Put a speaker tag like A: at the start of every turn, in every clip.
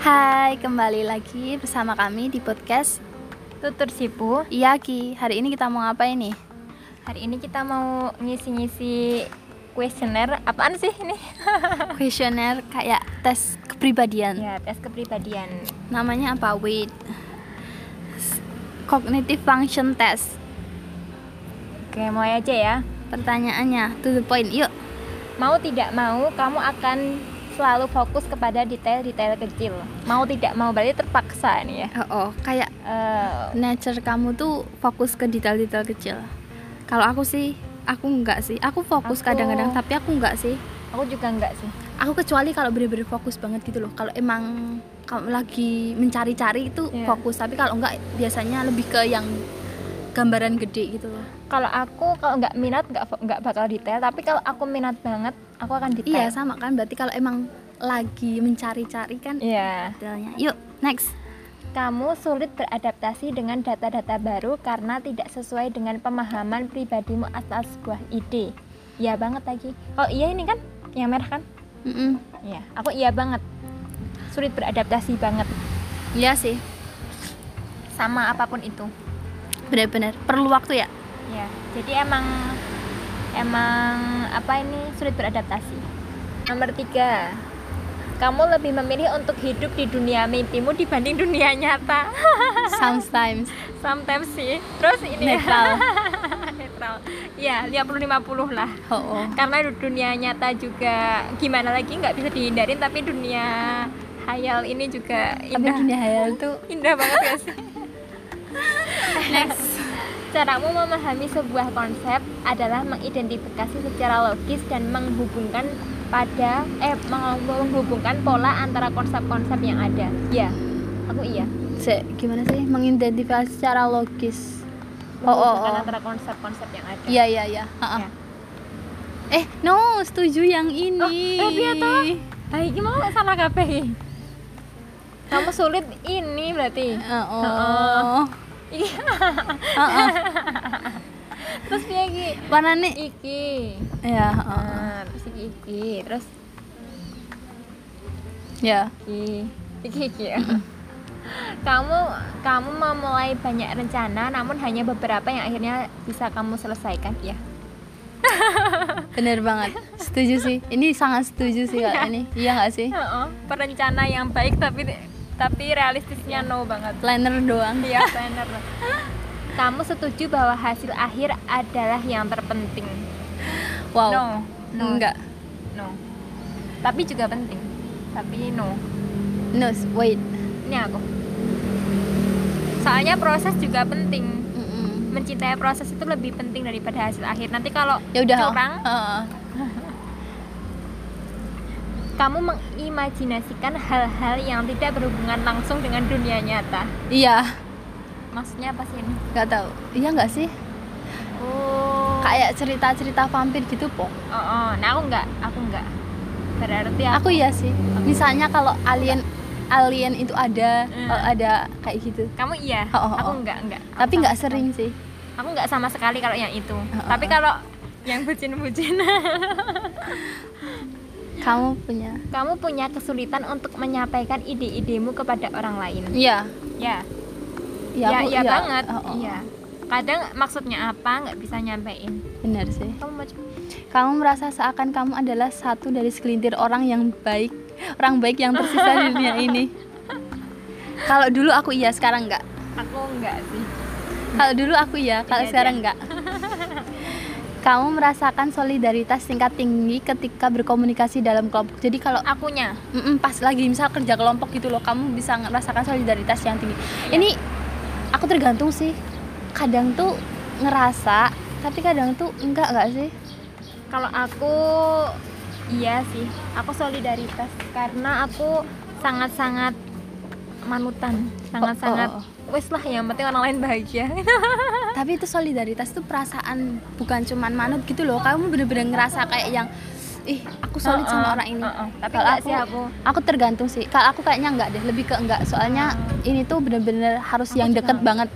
A: Hai, kembali lagi bersama kami di podcast
B: Tutur Sipu.
A: Iyaki. Hari ini kita mau ngapain nih?
B: Hari ini kita mau ngisi-ngisi kuesioner. Apaan sih ini?
A: Kuesioner kayak tes kepribadian.
B: ya, tes kepribadian.
A: Namanya apa? Wait. S- Cognitive function test.
B: Oke, mulai aja ya.
A: Pertanyaannya to the point. Yuk.
B: Mau tidak mau, kamu akan selalu fokus kepada detail-detail kecil. Mau tidak mau berarti terpaksa nih ya.
A: Oh, oh, kayak
B: Eh,
A: nature kamu tuh fokus ke detail-detail kecil. Kalau aku sih, aku enggak sih. Aku fokus
B: Aku-
A: kadang-kadang, tapi aku enggak sih.
B: aku juga enggak sih.
A: aku kecuali kalau bener-bener fokus banget gitu loh kalau emang kalau lagi mencari-cari itu
B: Iya.
A: fokus tapi kalau enggak biasanya lebih ke yang gambaran gede gitu loh
B: Kalau aku kalau nggak minat nggak fo- nggak bakal detail. Tapi kalau aku minat banget, aku akan
A: iya
B: detail.
A: sama kan berarti kalau emang lagi mencari-cari kan
B: Iya.
A: detailnya yuk next
B: Kamu sulit beradaptasi dengan data-data baru karena tidak sesuai dengan pemahaman pribadimu atas sebuah ide. Iya banget lagi. Kalau iya ini kan yang merah kan?
A: Mm-mm.
B: Iya, aku iya banget. Sulit beradaptasi banget
A: iya sih
B: sama apapun itu.
A: bener-bener perlu waktu ya
B: Iya. Jadi emang emang apa ini sulit beradaptasi. Nomor tiga, kamu lebih memilih untuk hidup di dunia mimpimu dibanding dunia nyata.
A: sometimes
B: Sometimes sih. Terus ini ya.
A: netral
B: netral ya 50-50 lah
A: oh, oh.
B: karena du- dunia nyata juga gimana lagi nggak bisa dihindarin tapi dunia hayal ini juga
A: tapi
B: indah
A: dunia hayal tuh
B: indah banget ya sih
A: next
B: caramu memahami sebuah konsep adalah mengidentifikasi secara logis dan menghubungkan pada eh meng- menghubungkan pola antara konsep-konsep yang ada ya aku iya
A: Se, gimana sih mengidentifikasi secara logis Oh, oh,
B: menghubungkan
A: oh.
B: antara konsep-konsep yang ada
A: iya iya iya Ha-ha.
B: Ya.
A: eh no setuju yang ini
B: Oh, eh, dia toh. Lah, iki mau salah kabeh iki. Kamu sulit ini berarti.
A: Oh.
B: Iya.
A: Heeh.
B: Terus piye iki?
A: Warnane
B: Iki.
A: ya,
B: Nah, terus iki iki, terus
A: ya.
B: iki. Iki iki. ya. kamu kamu memulai banyak rencana namun hanya beberapa yang akhirnya bisa kamu selesaikan ya.
A: Bener banget. Setuju sih. Ini sangat setuju sih kalau ini. Iya nggak sih?
B: Heeh, perencana yang baik tapi tapi realistisnya no banget.
A: Planner doang.
B: Iya, planner. Kamu setuju bahwa hasil akhir adalah yang terpenting?
A: Wow.
B: No. No.
A: Enggak.
B: No. Tapi juga penting. Tapi no.
A: No, wait.
B: Ini aku. Soalnya proses juga penting.
A: Mm-mm.
B: Mencintai proses itu lebih penting daripada hasil akhir. Nanti kalau
A: Ya udah.
B: curang,
A: Heeh.
B: kamu mengimajinasikan hal-hal yang tidak berhubungan langsung dengan dunia nyata.
A: Iya,
B: Maksudnya apa sih ini?
A: nggak tahu. Iya nggak sih?
B: Oh.
A: Kayak cerita-cerita vampir gitu, po.
B: Oh, oh. Nah, aku enggak, aku enggak. Berarti aku
A: Aku iya sih. Misalnya kalau alien alien itu ada,
B: Hmm.
A: kalau ada kayak gitu.
B: kamu iya,
A: Oh, oh,
B: aku
A: oh.
B: enggak, enggak. Aku
A: Tapi
B: sama
A: nggak
B: sekali.
A: sering sih.
B: Aku enggak sama sekali kalau yang itu.
A: oh,
B: Tapi
A: oh.
B: kalau yang bucin-bucin
A: Kamu punya?
B: Kamu punya kesulitan untuk menyampaikan ide-idemu kepada orang lain.
A: Iya.
B: Ya,
A: Iya,
B: ya,
A: aku-
B: ya,
A: iya.
B: banget.
A: Oh, oh.
B: Iya. Kadang maksudnya apa nggak bisa nyampein.
A: Benar sih.
B: Kamu mau coba?
A: Kamu merasa seakan kamu adalah satu dari segelintir orang yang baik, orang baik yang tersisa di dunia ini. Kalau dulu aku iya, sekarang enggak.
B: Aku nggak sih.
A: Kalau dulu aku iya, kalau
B: Iya,
A: sekarang enggak. Kamu merasakan solidaritas tingkat tinggi ketika berkomunikasi dalam kelompok. Jadi kalau
B: Akunya.
A: mm-mm, pas lagi misal kerja kelompok gitu loh, kamu bisa merasakan solidaritas yang tinggi.
B: Iya. Ya.
A: Ini aku tergantung sih. Kadang tuh ngerasa, tapi kadang tuh enggak enggak sih.
B: Kalau aku iya sih. Aku solidaritas karena aku sangat-sangat manutan, sangat-sangat
A: oh,
B: wes lah yang penting orang lain bahagia.
A: tapi itu solidaritas itu perasaan bukan cuman manut gitu loh kamu bener-bener ngerasa kayak yang ih aku solid
B: Oh, oh,
A: sama orang ini
B: oh, oh. Tapi
A: Kalau
B: nggak sih aku.
A: aku tergantung sih kalau aku kayaknya enggak deh lebih ke enggak soalnya ini tuh bener-bener harus
B: Hmm. Aku
A: yang
B: juga
A: deket
B: enggak.
A: banget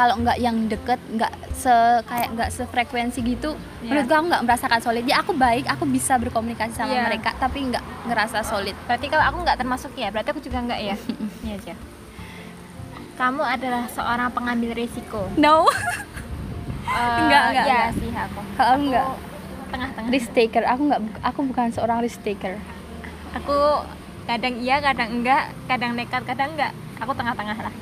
A: kalau nggak yang deket nggak se kayak nggak sefrekuensi gitu
B: Iya.
A: menurutku aku nggak merasakan solid ya aku baik aku bisa berkomunikasi sama
B: Iya.
A: mereka tapi nggak ngerasa solid
B: Berarti kalau aku nggak termasuk ya, berarti aku juga nggak ya. Iya aja. Kamu adalah seorang pengambil risiko.
A: no
B: Eh,
A: Nggak, nggak,
B: Ya
A: nggak.
B: sih aku.
A: Kalau
B: Aku
A: nggak.
B: Tengah-tengah.
A: risk taker aku nggak aku bukan seorang risk taker
B: Aku kadang iya, kadang enggak, kadang nekat, kadang enggak. Aku tengah-tengah lah.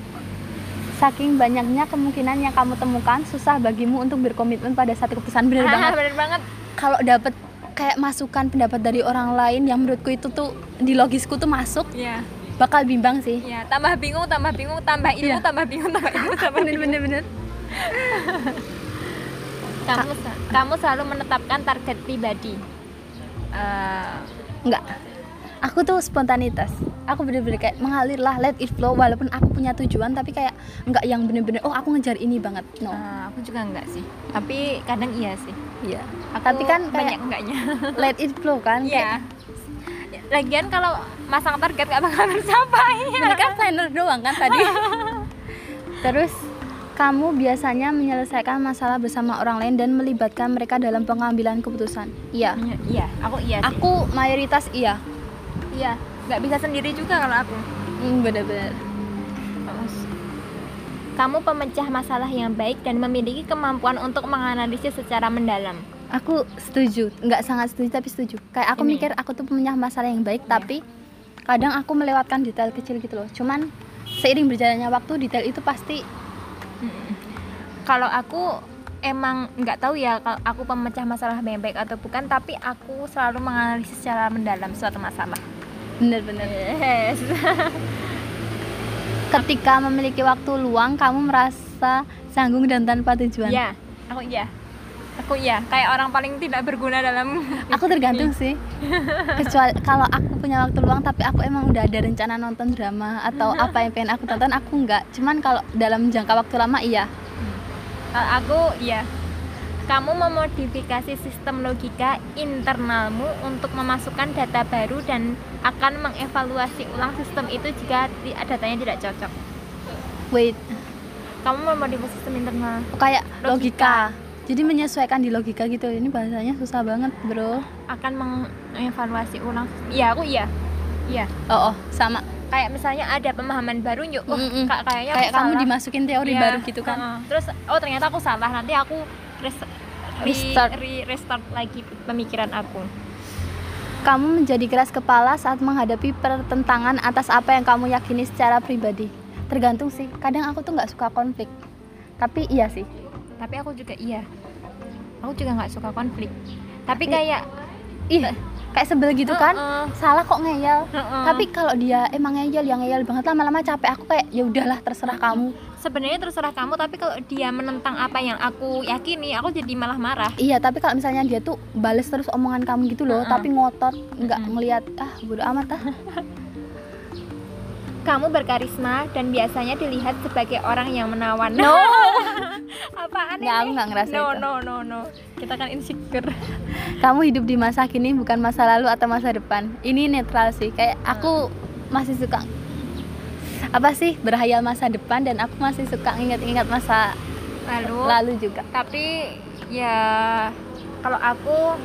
A: saking banyaknya kemungkinan yang kamu temukan susah bagimu untuk berkomitmen pada satu keputusan bener
B: Ah,
A: banget
B: bener banget.
A: kalau dapat kayak masukan pendapat dari orang lain yang menurutku itu tuh di logisku tuh masuk
B: Iya.
A: bakal bimbang sih
B: Iya, tambah bingung, tambah bingung, tambah
A: Iya.
B: ilmu, tambah bingung, tambah ilmu, tambah bingung.
A: bener
B: Kamu, sa- kamu selalu menetapkan target pribadi. Eh,
A: enggak aku tuh spontanitas aku bener-bener kayak mengalir lah let it flow walaupun aku punya tujuan tapi kayak enggak yang bener-bener oh aku ngejar ini banget no
B: eh, aku juga enggak sih. Tapi kadang iya sih.
A: iya
B: Aku
A: tapi kan
B: Oh, banyak
A: kayak
B: enggaknya.
A: let it flow kan
B: Iya. Lagian kalau masang target nggak bakal tercapai.
A: kayak ini kan planner doang kan tadi terus kamu biasanya menyelesaikan masalah bersama orang lain dan melibatkan mereka dalam pengambilan keputusan iya
B: Iya, aku iya sih.
A: aku mayoritas iya
B: Iya, nggak bisa sendiri juga kalau aku.
A: Hmm, bener-bener
B: Kamu pemecah masalah yang baik dan memiliki kemampuan untuk menganalisis secara mendalam.
A: aku setuju nggak sangat setuju tapi setuju kayak aku
B: Ini.
A: mikir aku tuh punya masalah yang baik
B: Iya.
A: tapi kadang aku melewatkan detail kecil gitu loh cuman seiring berjalannya waktu detail itu pasti
B: Kalau aku emang nggak tahu ya kalau aku pemecah masalah yang baik atau bukan, tapi aku selalu menganalisis secara mendalam suatu masalah.
A: bener-bener
B: Yes.
A: ketika memiliki waktu luang kamu merasa sanggup dan tanpa tujuan
B: Iya, aku iya. Aku iya, kayak orang paling tidak berguna dalam
A: aku tergantung sih kecuali kalau aku punya waktu luang tapi aku emang udah ada rencana nonton drama atau apa yang pengen aku tonton aku nggak cuman kalau dalam jangka waktu lama iya
B: Kalau aku ya. Kamu memodifikasi sistem logika internalmu untuk memasukkan data baru dan akan mengevaluasi ulang sistem itu jika ti- datanya tidak cocok.
A: wait
B: Kamu memodifikasi sistem internal.
A: kayak
B: Logika.
A: logika. Jadi menyesuaikan di logika gitu. Ini bahasanya susah banget, Bro.
B: akan mengevaluasi ulang sistem. Iya, aku iya. Iya.
A: Oh, oh sama.
B: Kayak misalnya ada pemahaman baru yuk. Oh,
A: Mm-mm.
B: ka- kayaknya aku
A: Kayak kamu
B: salah.
A: dimasukin teori
B: Iya,
A: baru gitu kan.
B: heeh. Terus oh ternyata aku salah. Nanti aku res- re-
A: Restart.
B: re- restart lagi pemikiran aku.
A: Kamu menjadi keras kepala saat menghadapi pertentangan atas apa yang kamu yakini secara pribadi. Tergantung sih. Kadang aku tuh nggak suka konflik. Tapi iya sih.
B: tapi aku juga iya aku juga nggak suka konflik
A: Tapi-
B: tapi kayak
A: Ih, kayak sebel gitu kan.
B: Heeh,
A: Salah kok ngeyel.
B: heeh.
A: Tapi kalau dia emang ngeyel, yang ngeyel banget lama-lama capek aku kayak ya udahlah terserah kamu.
B: sebenarnya terserah kamu tapi kalau dia menentang apa yang aku yakini aku jadi malah marah
A: Iya, tapi kalau misalnya dia tuh bales terus omongan kamu gitu loh,
B: Mm-mm.
A: tapi ngotot, nggak
B: Mm-mm.
A: ngelihat ah bodo amat ah.
B: kamu berkarisma dan biasanya dilihat sebagai orang yang menawan
A: No.
B: apaan
A: Nggak, aku
B: ini
A: nggak ngerasa
B: no
A: itu.
B: no no no kita kan insecure
A: Kamu hidup di masa kini bukan masa lalu atau masa depan. Ini netral sih. Kayak aku masih suka apa sih berhayal masa depan dan aku masih suka ingat-ingat masa
B: lalu,
A: lalu juga.
B: tapi ya kalau aku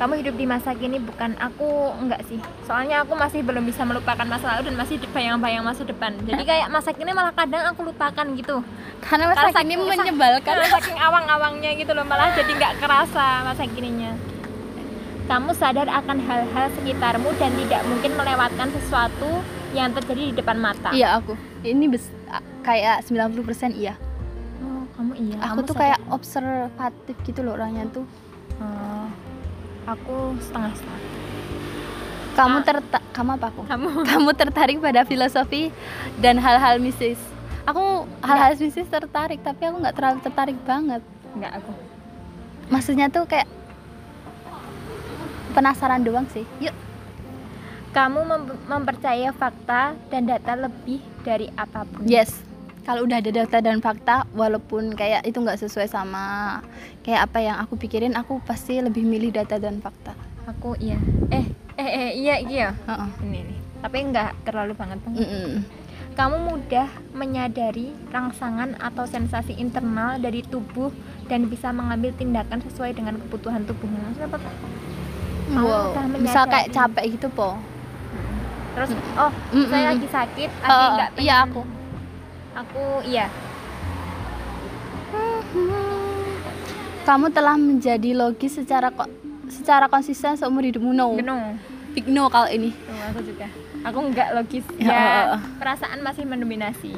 B: kamu hidup di masa kini bukan aku enggak sih soalnya aku masih belum bisa melupakan masa lalu dan masih di bayang-bayang masa depan jadi kayak masa kini malah kadang aku lupakan gitu
A: Karena masa
B: Karena
A: kini
B: saking-
A: menyebalkan.
B: karena saking awang-awangnya gitu loh malah jadi nggak kerasa masa kininya kamu sadar akan hal-hal sekitarmu dan tidak mungkin melewatkan sesuatu yang terjadi di depan mata
A: Iya aku. Ini bes- a- kayak 90% iya.
B: Oh, kamu iya
A: Aku
B: kamu
A: tuh
B: sadar.
A: kayak observatif gitu loh orangnya tuh.
B: Oh, aku setengah-setengah
A: Kamu
B: Ah.
A: terta kamu apa aku?
B: kamu
A: kamu tertarik pada filosofi dan hal-hal mistis aku hal-hal mistis tertarik tapi aku nggak terlalu tertarik banget
B: Enggak aku.
A: maksudnya tuh kayak penasaran doang sih yuk
B: Kamu mem- mempercaya fakta dan data lebih dari apapun.
A: yes kalau udah ada data dan fakta walaupun kayak itu nggak sesuai sama kayak apa yang aku pikirin aku pasti lebih milih data dan fakta
B: Aku iya. Eh, eh, eh iya iya.
A: Heeh.
B: Ini nih. Tapi enggak terlalu banget. Bang.
A: Mm-mm.
B: Iya. Kamu mudah menyadari rangsangan atau sensasi internal dari tubuh dan bisa mengambil tindakan sesuai dengan kebutuhan tubuhmu. Maksudnya apa? Kamu
A: Wow.
B: udah
A: Misal
B: menyadari.
A: kayak capek gitu po.
B: Terus oh,
A: Mm,
B: saya
A: mm,
B: lagi sakit, ada
A: Eh, iya
B: nggak pengen-
A: aku.
B: Aku iya.
A: Kamu telah menjadi logis secara ko- secara konsisten seumur hidupmu. No.
B: Genung.
A: Big no kalau ini.
B: Tuh, aku juga. Aku nggak logis.
A: Ya,
B: Ya,
A: oh, oh.
B: perasaan masih mendominasi.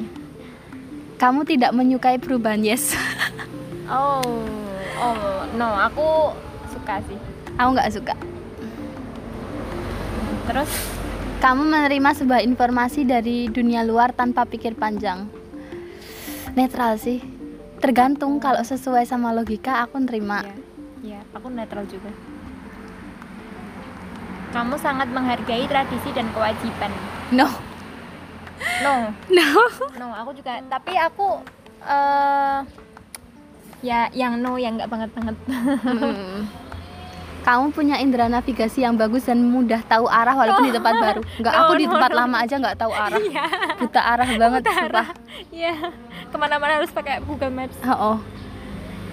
A: Kamu tidak menyukai perubahan yes.
B: Oh, oh, no, aku suka sih.
A: aku nggak suka.
B: Terus
A: Kamu menerima sebuah informasi dari dunia luar tanpa pikir panjang. Netral sih. Tergantung kalau sesuai sama logika aku nerima.
B: ya, ya, aku netral juga. Kamu sangat menghargai tradisi dan kewajiban.
A: No.
B: No,
A: No.
B: no, aku juga. Tapi aku eh ya yang no yang nggak banget banget. Hmm.
A: Mm. Kamu punya indera navigasi yang bagus dan mudah tahu arah walaupun di
B: Oh.
A: tempat baru. Nggak,
B: No,
A: aku di
B: no,
A: tempat
B: no.
A: lama aja nggak tahu arah.
B: Iya.
A: Buta arah banget, sumpah.
B: Iya. Kemana-mana harus pakai Google Maps.
A: Oh, oh.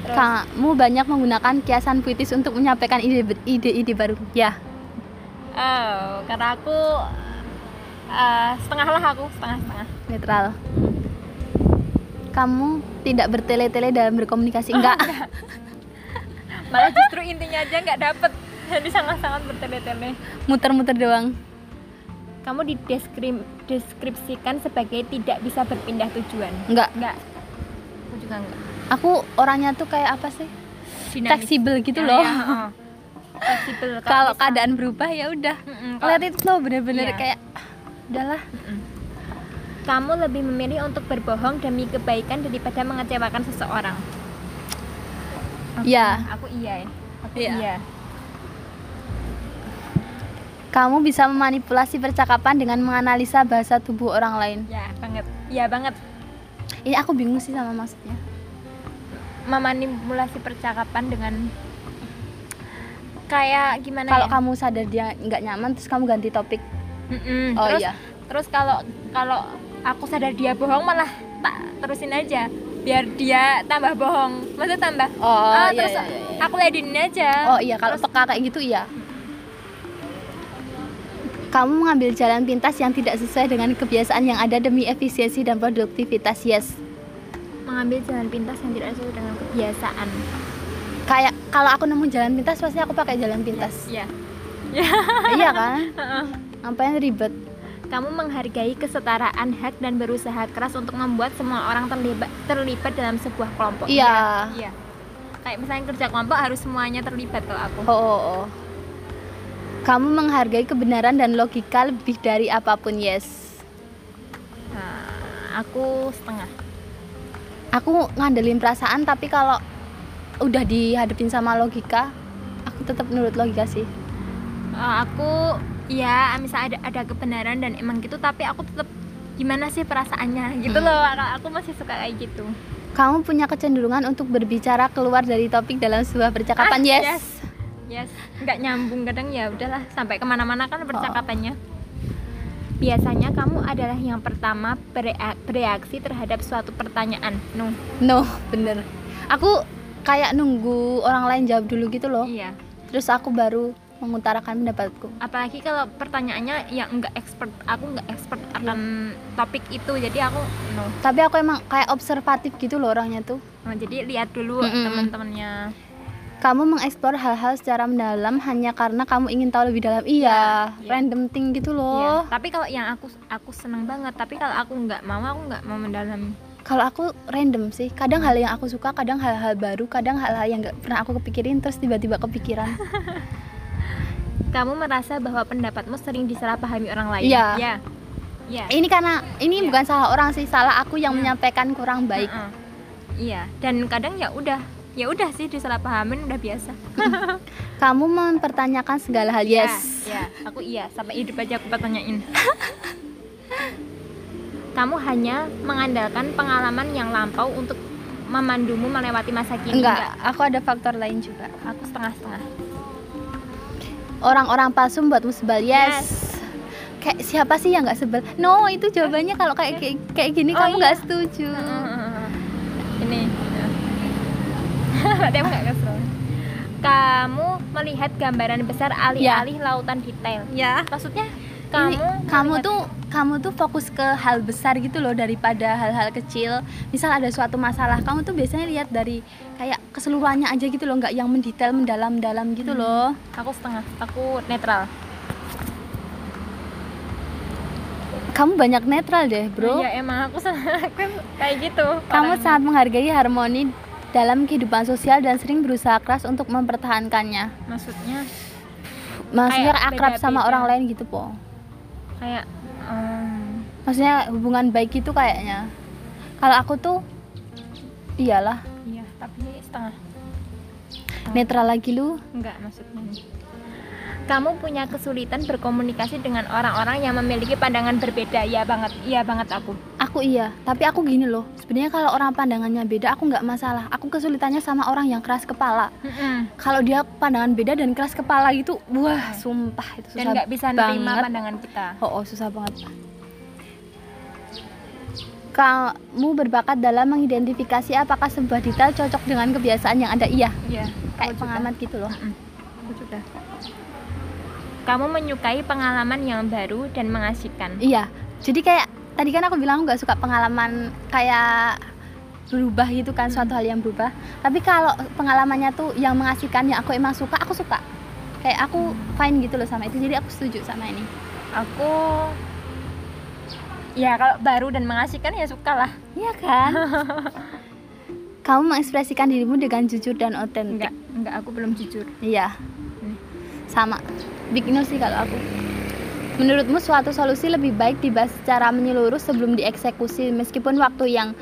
B: Terus,
A: Kamu banyak menggunakan kiasan puitis untuk menyampaikan ide- ide-ide baru. Ya,
B: oh, karena aku eh, setengah lah aku setengah setengah.
A: netral. Kamu tidak bertele-tele dalam berkomunikasi.
B: Oh,
A: Enggak.
B: Malah justru intinya aja nggak dapet. Jadi sangat-sangat bertele-tele.
A: muter-muter doang
B: Kamu dideskripsikan sebagai tidak bisa berpindah tujuan.
A: nggak
B: Enggak. Aku juga enggak.
A: aku orangnya tuh kayak apa sih fleksibel gitu
B: Ah,
A: loh
B: iya, heeh. Fleksibel.
A: kalau
B: bisa-
A: keadaan berubah ya udah
B: Mm-mm, kalau-
A: let it flow bener-bener
B: Iya.
A: kayak "Ah, udahlah
B: kamu lebih memilih untuk berbohong demi kebaikan daripada mengecewakan seseorang. Aku-
A: Iya.
B: Aku iya. ya. Aku
A: Iya.
B: iya.
A: kamu bisa memanipulasi percakapan dengan menganalisa bahasa tubuh orang lain
B: Ya, banget. Iya banget.
A: ini aku bingung sih sama maksudnya
B: Memanipulasi percakapan dengan kayak gimana
A: kalau
B: ya?
A: kamu sadar dia nggak nyaman terus kamu ganti topik
B: Mm-mm.
A: Oh,
B: terus,
A: iya.
B: Terus kalau kalau aku sadar dia bohong malah tak terusin aja biar dia tambah bohong. Maksudnya tambah.
A: Oh, iya,
B: "Ah, terus
A: iya, iya, iya."
B: aku ladenin aja.
A: oh iya kalau peka kayak gitu iya kamu mengambil jalan pintas yang tidak sesuai dengan kebiasaan yang ada demi efisiensi dan produktivitas yes
B: mengambil jalan pintas yang tidak sesuai dengan kebiasaan.
A: kayak kalau aku nemu jalan pintas pasti aku pakai jalan pintas
B: Iya.
A: iya kan ngapain ribet
B: Kamu menghargai kesetaraan hak dan berusaha keras untuk membuat semua orang terlibat terlibat dalam sebuah kelompok.
A: Iya.
B: Iya. Kayak misalnya kerja kelompok harus semuanya terlibat kalau aku.
A: oh, oh, oh. kamu menghargai kebenaran dan logika lebih dari apapun yes
B: Nah, aku setengah.
A: aku ngandelin perasaan tapi kalau udah dihadapin sama logika aku tetap nurut logika sih
B: Eh, aku ya misalnya ada ada kebenaran dan emang gitu tapi aku tetap gimana sih perasaannya gitu
A: Hmm.
B: loh. Kalau Aku masih suka kayak gitu.
A: kamu punya kecenderungan untuk berbicara keluar dari topik dalam sebuah percakapan
B: Ah,
A: Ya, yes.
B: yes. Yes, nggak nyambung kadang ya udahlah sampai kemana-mana kan percakapannya. Biasanya kamu adalah yang pertama berea- bereaksi terhadap suatu pertanyaan. Nuh,
A: no bener aku kayak nunggu orang lain jawab dulu gitu loh
B: iya.
A: terus aku baru mengutarakan pendapatku
B: Apalagi kalau pertanyaannya yang nggak expert, aku nggak expert
A: Iya.
B: akan topik itu, jadi aku no.
A: tapi aku emang kayak observatif gitu loh orangnya tuh
B: Nah, jadi lihat dulu
A: Mm-mm.
B: teman-temannya.
A: kamu mengeksplor hal-hal secara mendalam hanya karena kamu ingin tahu lebih dalam iya
B: Iya.
A: random thing gitu
B: Iya.
A: loh
B: Tapi kalau yang aku aku seneng banget, tapi kalau aku nggak mau, aku nggak mau mendalami.
A: kalau aku random sih kadang hal yang aku suka kadang hal-hal baru kadang hal-hal yang nggak pernah aku kepikirin terus tiba-tiba kepikiran
B: Kamu merasa bahwa pendapatmu sering disalahpahami orang lain.
A: Iya. Eh,
B: Iya. Iya.
A: ini karena ini
B: Iya.
A: bukan salah orang sih salah aku yang
B: Hmm.
A: menyampaikan kurang baik
B: Heeh. Iya, dan kadang ya udah, ya udah sih disalahpahamin udah biasa.
A: kamu mempertanyakan segala hal yes
B: Ya, ya, aku iya, sampai hidup aja aku pertanyain. Kamu hanya mengandalkan pengalaman yang lampau untuk memandumu melewati masa kini.
A: enggak Iya. aku ada faktor lain juga
B: Enggak, aku setengah-setengah.
A: orang-orang palsu membuatmu sebal yes,
B: Yes.
A: kayak siapa sih yang nggak sebel no itu jawabannya kalau kayak kayak, kayak gini
B: Oh,
A: kamu
B: iya.
A: nggak setuju
B: ini Berarti aku nggak kesel kamu melihat gambaran besar alih-alih lautan detail
C: ya
A: Iya.
B: maksudnya
A: Ini,
B: kamu
A: kamu
B: melihat-
A: tuh kamu tuh fokus ke hal besar gitu loh daripada hal-hal kecil misal ada suatu masalah kamu tuh biasanya lihat dari kayak keseluruhannya aja gitu loh nggak yang mendetail mendalam mendalam gitu
B: Hmm.
A: loh
B: aku setengah aku netral
A: kamu banyak netral deh bro
B: ya emang aku senang aku kayak gitu
A: Kamu
B: orangnya.
A: sangat menghargai harmoni dalam kehidupan sosial dan sering berusaha keras untuk mempertahankannya.
B: maksudnya
A: Maksudnya
B: Kayak
A: akrab sama
B: beda-beda.
A: orang lain gitu, Po.
B: kayak em,
A: Maksudnya hubungan baik itu kayaknya. Kalau aku tuh iyalah,
B: iya tapi setengah
A: netral lagi lu.
B: enggak maksudnya kamu punya kesulitan berkomunikasi dengan orang-orang yang memiliki pandangan berbeda ya banget iya banget aku
A: Aku iya, tapi aku gini loh. Sebenarnya kalau orang pandangannya beda aku nggak masalah. Aku kesulitannya sama orang yang keras kepala. Kalau dia pandangan beda dan keras kepala gitu, wah, sumpah itu
B: Iya. dan
A: susah
B: nggak bisa nerima
A: banget.
B: pandangan kita
A: Oh, oh, susah banget. Kamu berbakat dalam mengidentifikasi apakah sebuah detail cocok dengan kebiasaan yang ada. Iya,
B: iya
A: kayak pengamat gitu loh.
B: aku juga kamu menyukai pengalaman yang baru dan mengasihkan
A: Iya. Jadi kayak tadi kan aku bilang aku nggak suka pengalaman kayak berubah gitu kan suatu hal yang berubah. Tapi kalau pengalamannya tuh yang mengasihkan yang aku emang suka, aku suka. Kayak aku fine gitu loh sama itu. Jadi aku setuju sama ini.
B: aku ya kalau baru dan mengasihkan ya suka lah
A: Iya kan? Kamu mengekspresikan dirimu dengan jujur dan otentik.
B: enggak enggak aku belum jujur
A: Iya.
B: Hmm.
A: Sama. Big news sih kalau aku. Menurutmu suatu solusi lebih baik dibahas secara menyeluruh sebelum dieksekusi meskipun waktu yang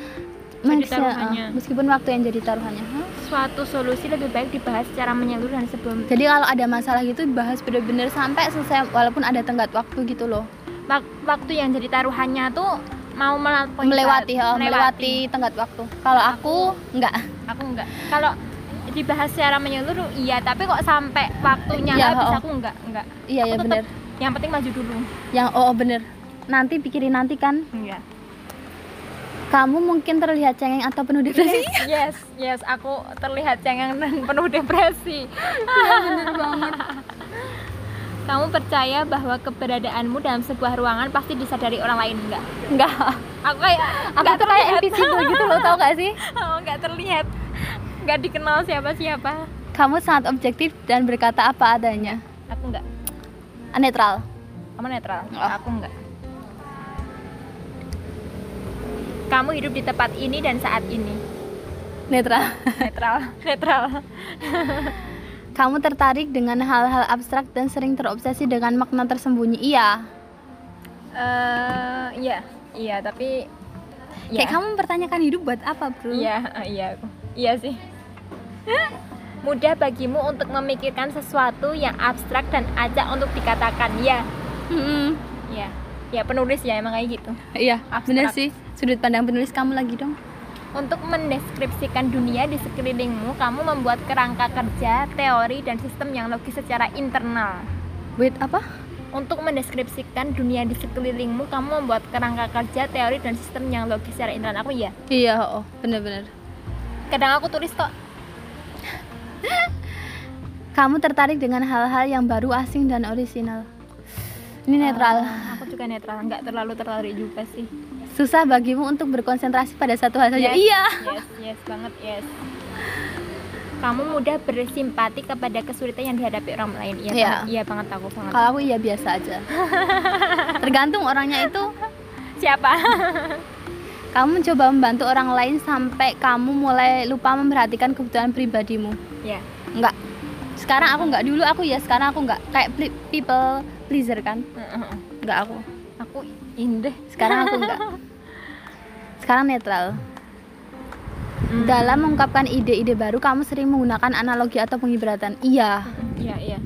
B: Jadi
A: Maksudnya,
B: taruhannya.
A: eh, meskipun waktu yang jadi taruhannya. Hah?
B: suatu solusi lebih baik dibahas secara menyeluruh dan sebelum
A: Jadi kalau ada masalah gitu bahas bener-bener sampai selesai walaupun ada tenggat waktu gitu loh.
B: Wak- waktu yang jadi taruhannya tuh mau melampaui
A: melewati,
B: bat-
A: oh, melewati tenggat waktu. Kalau aku enggak.
B: aku enggak kalau dibahas secara menyeluruh iya tapi kok sampai waktunya
A: Iya,
B: habis
A: oh.
B: aku enggak enggak
A: Iya
B: Aku
A: ya bener.
B: tetep yang penting maju dulu
A: Yang oh oh, bener. Nanti pikirin nanti kan.
B: iya
A: Kamu mungkin terlihat cengeng atau penuh depresi.
B: yes yes aku terlihat cengeng dan penuh depresi kamu percaya bahwa keberadaanmu dalam sebuah ruangan pasti disadari orang lain enggak
A: Enggak.
B: aku kayak
A: Aku
B: enggak
A: tuh kayak invisible gitu loh, tau gak sih?
B: oh, enggak terlihat enggak dikenal siapa-siapa
A: Kamu sangat objektif dan berkata apa adanya.
B: aku enggak
A: Netral.
B: kamu netral
A: Oh.
B: aku enggak kamu hidup di tempat ini dan saat ini
A: Netral.
B: netral netral
A: Kamu tertarik dengan hal-hal abstrak dan sering terobsesi dengan makna tersembunyi. Iya.
B: Eh, iya iya tapi iya.
A: Kayak kamu mempertanyakan hidup buat apa, Bro?
B: iya eh, iya aku iya sih mudah bagimu untuk memikirkan sesuatu yang abstrak dan ajak untuk dikatakan ya
A: Mm-mm.
B: ya ya penulis ya emang kayak gitu
A: Iya,
B: Abstrak.
A: bener sih. Sudut pandang penulis kamu lagi dong.
B: Untuk mendeskripsikan dunia di sekelilingmu, kamu membuat kerangka kerja, teori, dan sistem yang logis secara internal.
A: Wait, apa?
B: Untuk mendeskripsikan dunia di sekelilingmu, kamu membuat kerangka kerja, teori, dan sistem yang logis secara internal. Aku ya,
A: Iya, oh, bener-bener.
B: kadang aku tulis kok.
A: Kamu tertarik dengan hal-hal yang baru, asing, dan orisinal. Ini netral.
B: Eh, aku juga netral, nggak terlalu tertarik juga sih.
A: Susah bagimu untuk berkonsentrasi pada satu hal saja.
B: Yes.
A: Iya.
B: Yes, yes banget, yes. Kamu mudah bersimpati kepada kesulitan yang dihadapi orang lain. Iya,
A: Iya.
B: banget, iya banget aku banget.
A: Kalau aku iya biasa aja. Tergantung orangnya itu.
B: Siapa?
A: Kamu mencoba membantu orang lain sampai kamu mulai lupa memperhatikan kebutuhan pribadimu.
B: ya,
A: Enggak. Sekarang aku enggak dulu aku ya, sekarang aku enggak kayak pli- people pleaser kan? Enggak aku.
B: aku indah.
A: Sekarang aku enggak. Sekarang netral. Dalam mengungkapkan ide-ide baru, kamu sering menggunakan analogi atau pengibaratan. Iya,
B: Iya, iya.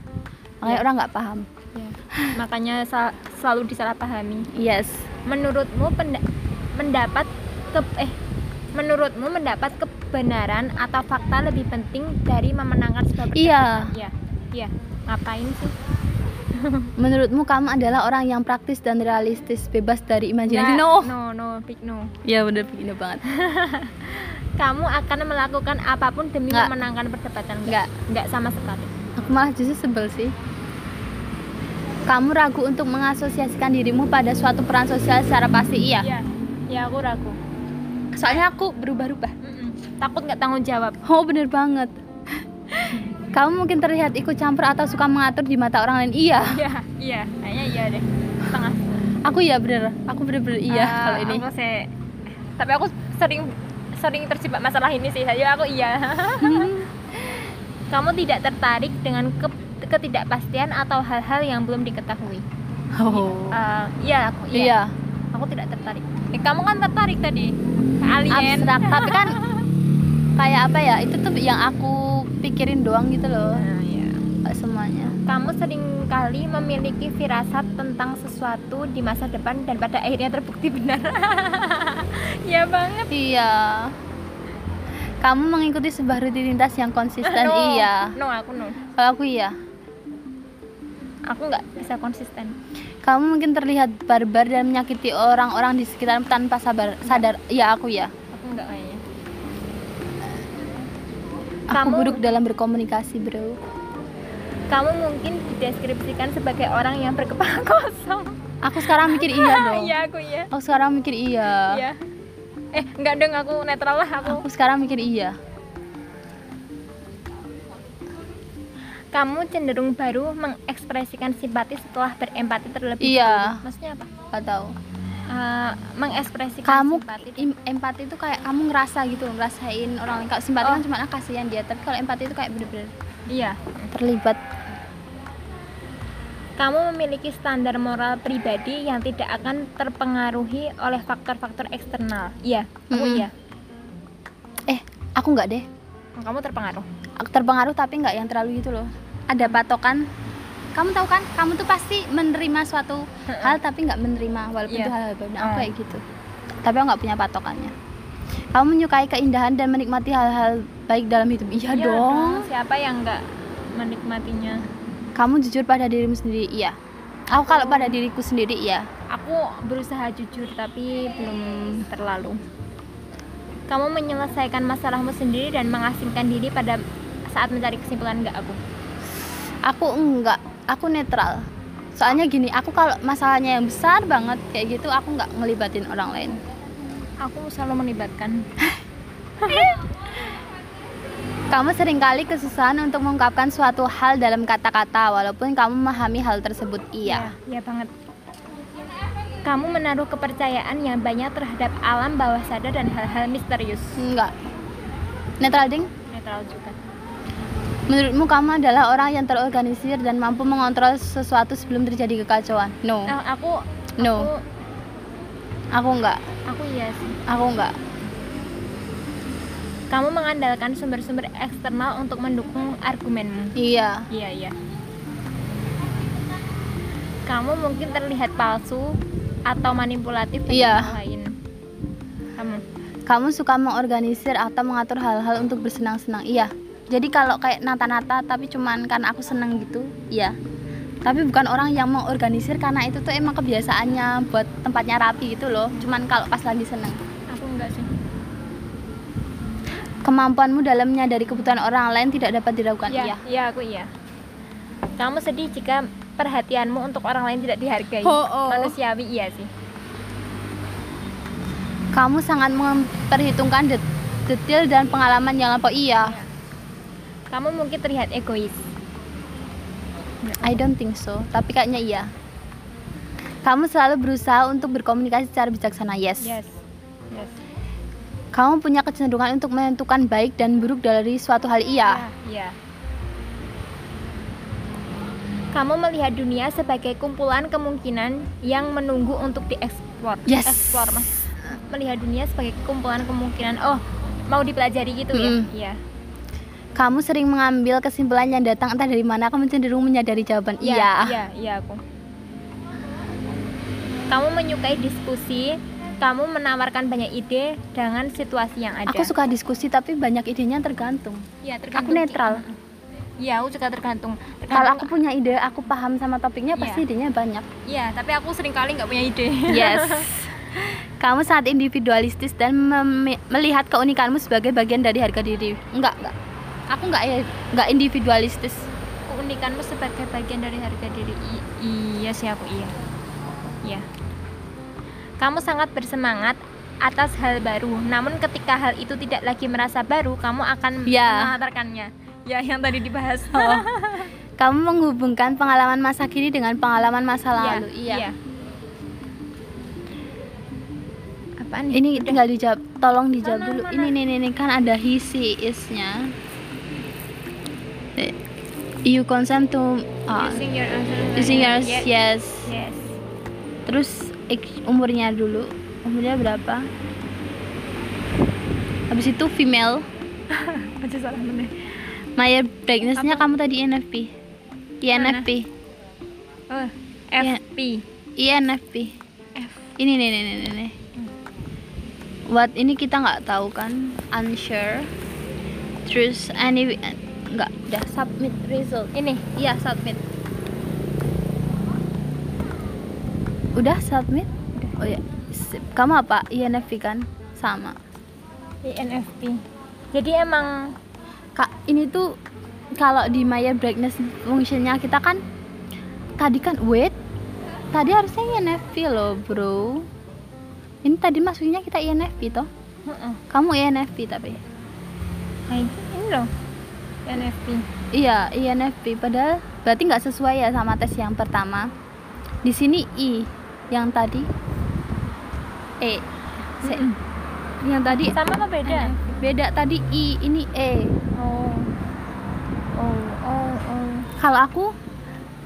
A: makanya orang nggak paham.
B: Ya, makanya sa- selalu disalahpahami.
A: Yes.
B: Menurutmu penda- mendapat ke eh menurutmu mendapat kebenaran atau fakta lebih penting dari memenangkan sebuah
A: Iya.
B: perdebatan? Iya. Iya. ngapain sih
A: Menurutmu kamu adalah orang yang praktis dan realistis, bebas dari imajinasi?
B: Nggak,
A: No.
B: no no big no
A: Ya Nah. bener begini banget.
B: kamu akan melakukan apapun demi
A: Nggak.
B: memenangkan perdebatan
A: Nggak.
B: nggak sama sekali
A: Aku malah justru sebel sih. Kamu ragu untuk mengasosiasikan dirimu pada suatu peran sosial secara pasti, iya.
B: ya ya aku ragu
A: Soalnya aku berubah-ubah.
B: Mm-mm. takut nggak tanggung jawab
A: Oh bener banget Kamu mungkin terlihat ikut campur atau suka mengatur di mata orang lain Iya
B: iya iya kayaknya iya deh setengah
A: Aku iya bener Aku bener-bener iya
B: Ah,
A: kalau ini
B: aku sih- tapi aku sering sering terjebak masalah ini sih saya aku iya kamu tidak tertarik dengan ke- ketidakpastian atau hal-hal yang belum diketahui
A: oh.
B: Ah, iya aku iya,
A: Iya
B: aku tidak tertarik eh, kamu kan tertarik tadi ke alien
A: Abstrak Tapi kan kayak apa ya Itu tuh yang aku pikirin doang gitu loh
B: Nah, iya.
A: nggak semuanya
B: kamu sering kali memiliki firasat tentang sesuatu di masa depan dan pada akhirnya terbukti benar ya banget
A: Iya Kamu mengikuti sebuah rutinitas yang konsisten
B: No.
A: Iya
B: no aku no
A: Kalau aku iya
B: aku nggak bisa konsisten
A: Kamu mungkin terlihat barbar dan menyakiti orang-orang di sekitar tanpa sabar, sadar Iya aku ya
B: aku nggak kayaknya
A: Aku
B: Kamu-
A: buruk dalam berkomunikasi bro
B: kamu mungkin dideskripsikan sebagai orang yang berkepala kosong
A: Aku sekarang mikir iya dong.
B: iya aku ya
A: Aku sekarang mikir iya.
B: iya eh nggak dong aku netral lah aku
A: Aku sekarang mikir iya.
B: kamu cenderung baru mengekspresikan simpati setelah berempati terlebih
A: Iya.
B: dahulu. maksudnya apa
A: Gak tahu.
B: Eh, mengekspresikan
A: Kamu
B: simpati
A: im- empati itu kayak kamu ngerasa gitu, loh, ngerasain orang lain. Kalau simpati
B: Oh.
A: kan cuma ah, kasihan dia, tapi kalau empati itu kayak bener-bener
B: iya
A: terlibat.
B: kamu memiliki standar moral pribadi yang tidak akan terpengaruhi oleh faktor-faktor eksternal iya aku
A: Mm-mm.
B: iya Oh,
A: Eh, aku nggak deh.
B: kamu terpengaruh
A: Aku terpengaruh tapi nggak yang terlalu gitu loh. Ada patokan. Kamu tahu kan, kamu tuh pasti menerima suatu hal tapi nggak menerima walaupun
B: Iya.
A: itu hal-hal baru. Nah, aku
B: Ah.
A: kayak gitu. Tapi aku nggak punya patokannya. Kamu menyukai keindahan dan menikmati hal-hal baik dalam hidup. Iya,
B: Iya
A: dong.
B: siapa yang nggak menikmatinya
A: kamu jujur pada dirimu sendiri iya aku kalau pada diriku sendiri iya
B: aku berusaha jujur tapi belum terlalu kamu menyelesaikan masalahmu sendiri dan mengasingkan diri pada saat mencari kesimpulan nggak aku
A: aku enggak aku netral soalnya gini aku kalau masalahnya yang besar banget kayak gitu aku nggak ngelibatin orang lain
B: aku selalu melibatkan
A: kamu seringkali kesusahan untuk mengungkapkan suatu hal dalam kata-kata walaupun kamu memahami hal tersebut iya
B: ya banget kamu menaruh kepercayaan yang banyak terhadap alam bawah sadar dan hal-hal misterius
A: enggak netral ding
B: netral juga
A: Eh. menurutmu kamu adalah orang yang terorganisir dan mampu mengontrol sesuatu sebelum terjadi kekacauan no
B: Eh, aku
A: no
B: aku
A: aku enggak
B: aku iya sih
A: aku enggak
B: kamu mengandalkan sumber-sumber eksternal untuk mendukung argumenmu
A: iya
B: Iya, iya. Kamu mungkin terlihat palsu atau manipulatif dengan
A: Iya.
B: orang lain. Kamu.
A: Kamu suka mengorganisir atau mengatur hal-hal untuk bersenang-senang? Iya. Jadi kalau kayak nata-nata tapi cuman karena aku seneng gitu, iya. Tapi bukan orang yang mengorganisir karena itu tuh emang kebiasaannya buat tempatnya rapi gitu loh. Cuman kalau pas lagi seneng.
B: Aku enggak sih.
A: Kemampuanmu dalam menyadari kebutuhan orang lain tidak dapat diragukan.
B: Iya,
A: Iya.
B: iya aku iya. Kamu sedih jika perhatianmu untuk orang lain tidak dihargai.
A: Ho, oh.
B: Manusiawi iya sih.
A: Kamu sangat memperhitungkan det- detail dan pengalaman yang lampau. Iya.
B: Kamu mungkin terlihat egois.
A: I don't think so. Tapi kayaknya iya. Kamu selalu berusaha untuk berkomunikasi secara bijaksana.
B: Iya, Yes.
A: Kamu punya kecenderungan untuk menentukan baik dan buruk dari suatu hal iya.
B: Iya. Kamu melihat dunia sebagai kumpulan kemungkinan yang menunggu untuk dieksplor.
A: Yes.
B: Eksplor, Mas. Melihat dunia sebagai kumpulan kemungkinan. Oh, mau dipelajari gitu
A: Mm-mm.
B: ya? Iya.
A: Kamu sering mengambil kesimpulan yang datang entah dari mana, kamu cenderung menyadari jawaban iya.
B: Iya, iya aku. Kamu menyukai diskusi, kamu menawarkan banyak ide dengan situasi yang ada.
A: Aku suka diskusi tapi banyak idenya tergantung.
B: Iya,
A: Aku
B: tergantung.
A: netral.
B: Iya, aku juga tergantung.
A: Kalau
B: tergantung-
A: aku punya ide, aku paham sama topiknya,
B: Iya.
A: pasti idenya banyak.
B: Iya, tapi aku sering kali nggak punya ide.
A: Yes. Kamu saat individualistis dan mem- melihat keunikanmu sebagai bagian dari harga diri. Enggak, enggak. Aku enggak ya, enggak individualistis.
B: Keunikanmu sebagai bagian dari harga diri. I- iya sih aku iya. Iya. Kamu sangat bersemangat atas hal baru. Namun ketika hal itu tidak lagi merasa baru, kamu akan
A: Iya. Oh,
B: menghantarkannya. Ya, yang tadi dibahas. Ya,
A: Kamu menghubungkan pengalaman masa kini dengan pengalaman masa
B: Iya,
A: lalu. Iya.
B: Apaan ya? nih?
A: Ini tinggal dijawab. Tolong dijawab
B: Mana,
A: dulu.
B: mana?
A: Ini nih, nih, nih, kan ada hisi isnya. Eh, You consent to oh,
B: using your own-
A: using yours,
B: Yes.
A: yes.
B: Yes.
A: Terus ik- umurnya dulu. Umurnya berapa? Habis itu female.
B: Aja salah meneh.
A: Mayor brightness-nya kamu tadi E INFP.
B: E
A: INFP.
B: Oh,
A: Ya.
B: FP.
A: INFP.
B: F.
A: Ini nih nih nih nih. nih. What ini kita nggak tahu kan? Unsure. Terus anyway nggak udah submit result.
B: Ini.
A: Iya, submit. Udah submit? Oh ya. Sip. Kamu apa? INFP kan? Sama.
B: INFP. Jadi emang
A: Kak, ini tuh kalau di Maya Brightness functionnya kita kan tadi kan wait tadi harusnya iya, INFP loh bro ini tadi masuknya kita iya, INFP toh
B: Heeh.
A: kamu iya, INFP tapi
B: Nah, ini ini loh. INFP.
A: iya INFP padahal berarti nggak sesuai ya sama tes yang pertama di sini I yang tadi E Se-
B: Mm-mm.
A: yang tadi E
B: Sama apa beda?
A: INFP. beda tadi I ini E
B: Oh. Oh, oh, oh.
A: kalau aku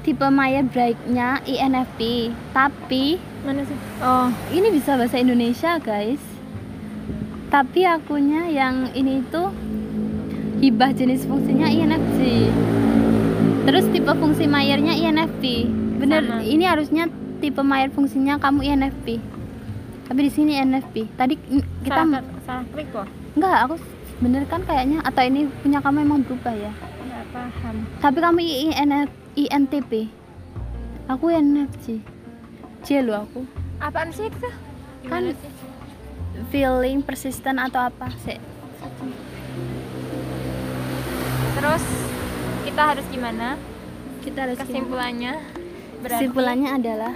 A: tipe E Maya Brightnya INFP tapi
B: Mana sih? Oh,
A: ini bisa bahasa Indonesia guys tapi akunya yang ini itu hibah jenis fungsinya INFJ terus tipe fungsi Mayernya INFP bener
B: Sama.
A: ini harusnya tipe Mayer fungsinya kamu INFP tapi di sini INFP tadi n- kita
B: salah, salah klik kok.
A: enggak aku bener kan kayaknya atau ini punya kamu emang berubah ya
B: Enggak paham.
A: tapi kamu INF, INTP aku INFJ J lo aku
B: Apaan sih itu?
A: Kan-
B: Gimana sih?
A: feeling persistent atau apa sih
B: terus kita harus gimana?
A: kita harus gimana?
B: Kesimpulannya? Berarti-
A: kesimpulannya adalah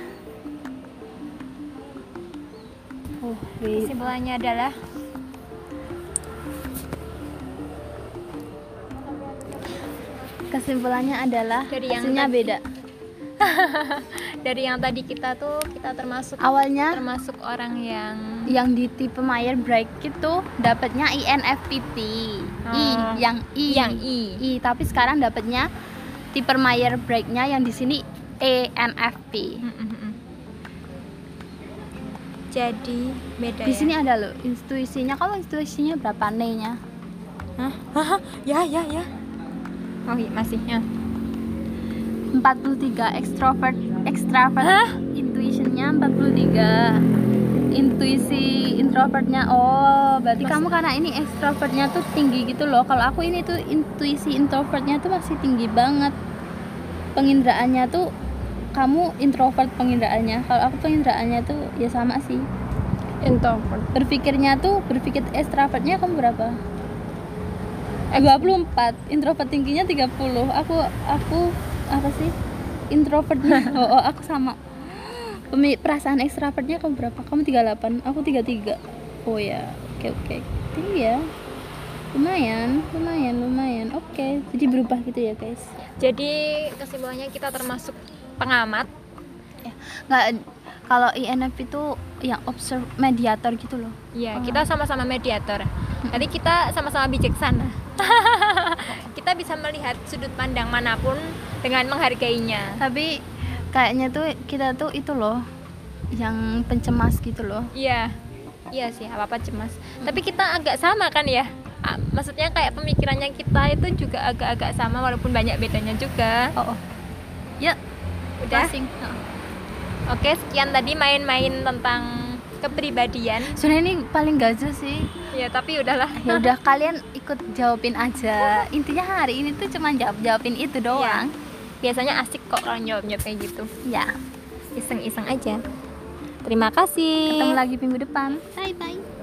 A: oh wait
B: Kesimpulannya adalah
A: kesimpulannya adalah
B: Dari yang
A: hasilnya
B: tadi.
A: beda
B: dari yang tadi kita tuh kita termasuk
A: awalnya
B: termasuk orang yang
A: yang di tipe Mayer Bright itu dapatnya INFPP I
B: Ah,
A: yang I
B: yang I.
A: I tapi sekarang dapatnya tipe Mayer Brightnya yang di sini E ENFP
B: Mm, mm, mm. Jadi beda
A: di
B: ya?
A: sini ada loh intuisinya kamu intuisinya berapa nenya
B: Hah? Hah? Ya, ya, ya. Oh, iya, masih. Ya.
A: 43 extrovert extrovert
B: Hah?
A: intuitionnya 43 intuisi introvertnya oh berarti
B: Mas-
A: kamu karena ini extrovertnya tuh tinggi gitu loh kalau aku ini tuh intuisi introvertnya tuh masih tinggi banget pengindraannya tuh kamu introvert pengindraannya kalau aku pengindraannya tuh ya sama sih
B: Introvert.
A: berpikirnya tuh berpikir extrovertnya kamu berapa? Eh, 24 introvert tingginya 30 aku aku apa sih introvertnya oh, oh, aku sama Pemi- perasaan extrovertnya kamu berapa? kamu 38 aku 33 oh ya oke oke tinggi ya lumayan lumayan lumayan oke jadi berubah gitu ya guys
B: Jadi kesimpulannya kita termasuk pengamat.
A: nggak kalau INFP itu yang observe mediator gitu loh
B: Ya,
A: Oh.
B: kita sama-sama mediator. Nanti kita sama-sama bijaksana. kita bisa melihat sudut pandang manapun dengan menghargainya.
A: tapi kayaknya tuh kita tuh itu loh yang pencemas gitu loh
B: Iya. Iya sih, apa-apa cemas. Tapi kita agak sama kan ya? Ah, Maksudnya kayak pemikirannya kita itu juga agak-agak sama walaupun banyak bedanya juga.
A: oh, oh. ya
B: Udah.
A: closing.
B: Oke, sekian tadi main-main tentang kepribadian.
A: sebenarnya ini paling gaza sih
B: ya tapi udahlah
A: ya udah kalian ikut jawabin aja intinya hari ini tuh cuma jawab jawabin itu doang
B: biasanya asik kok kalau nyawab nyawab kayak gitu
A: ya
B: iseng iseng aja terima kasih
A: ketemu Ya, lagi minggu depan
B: bye bye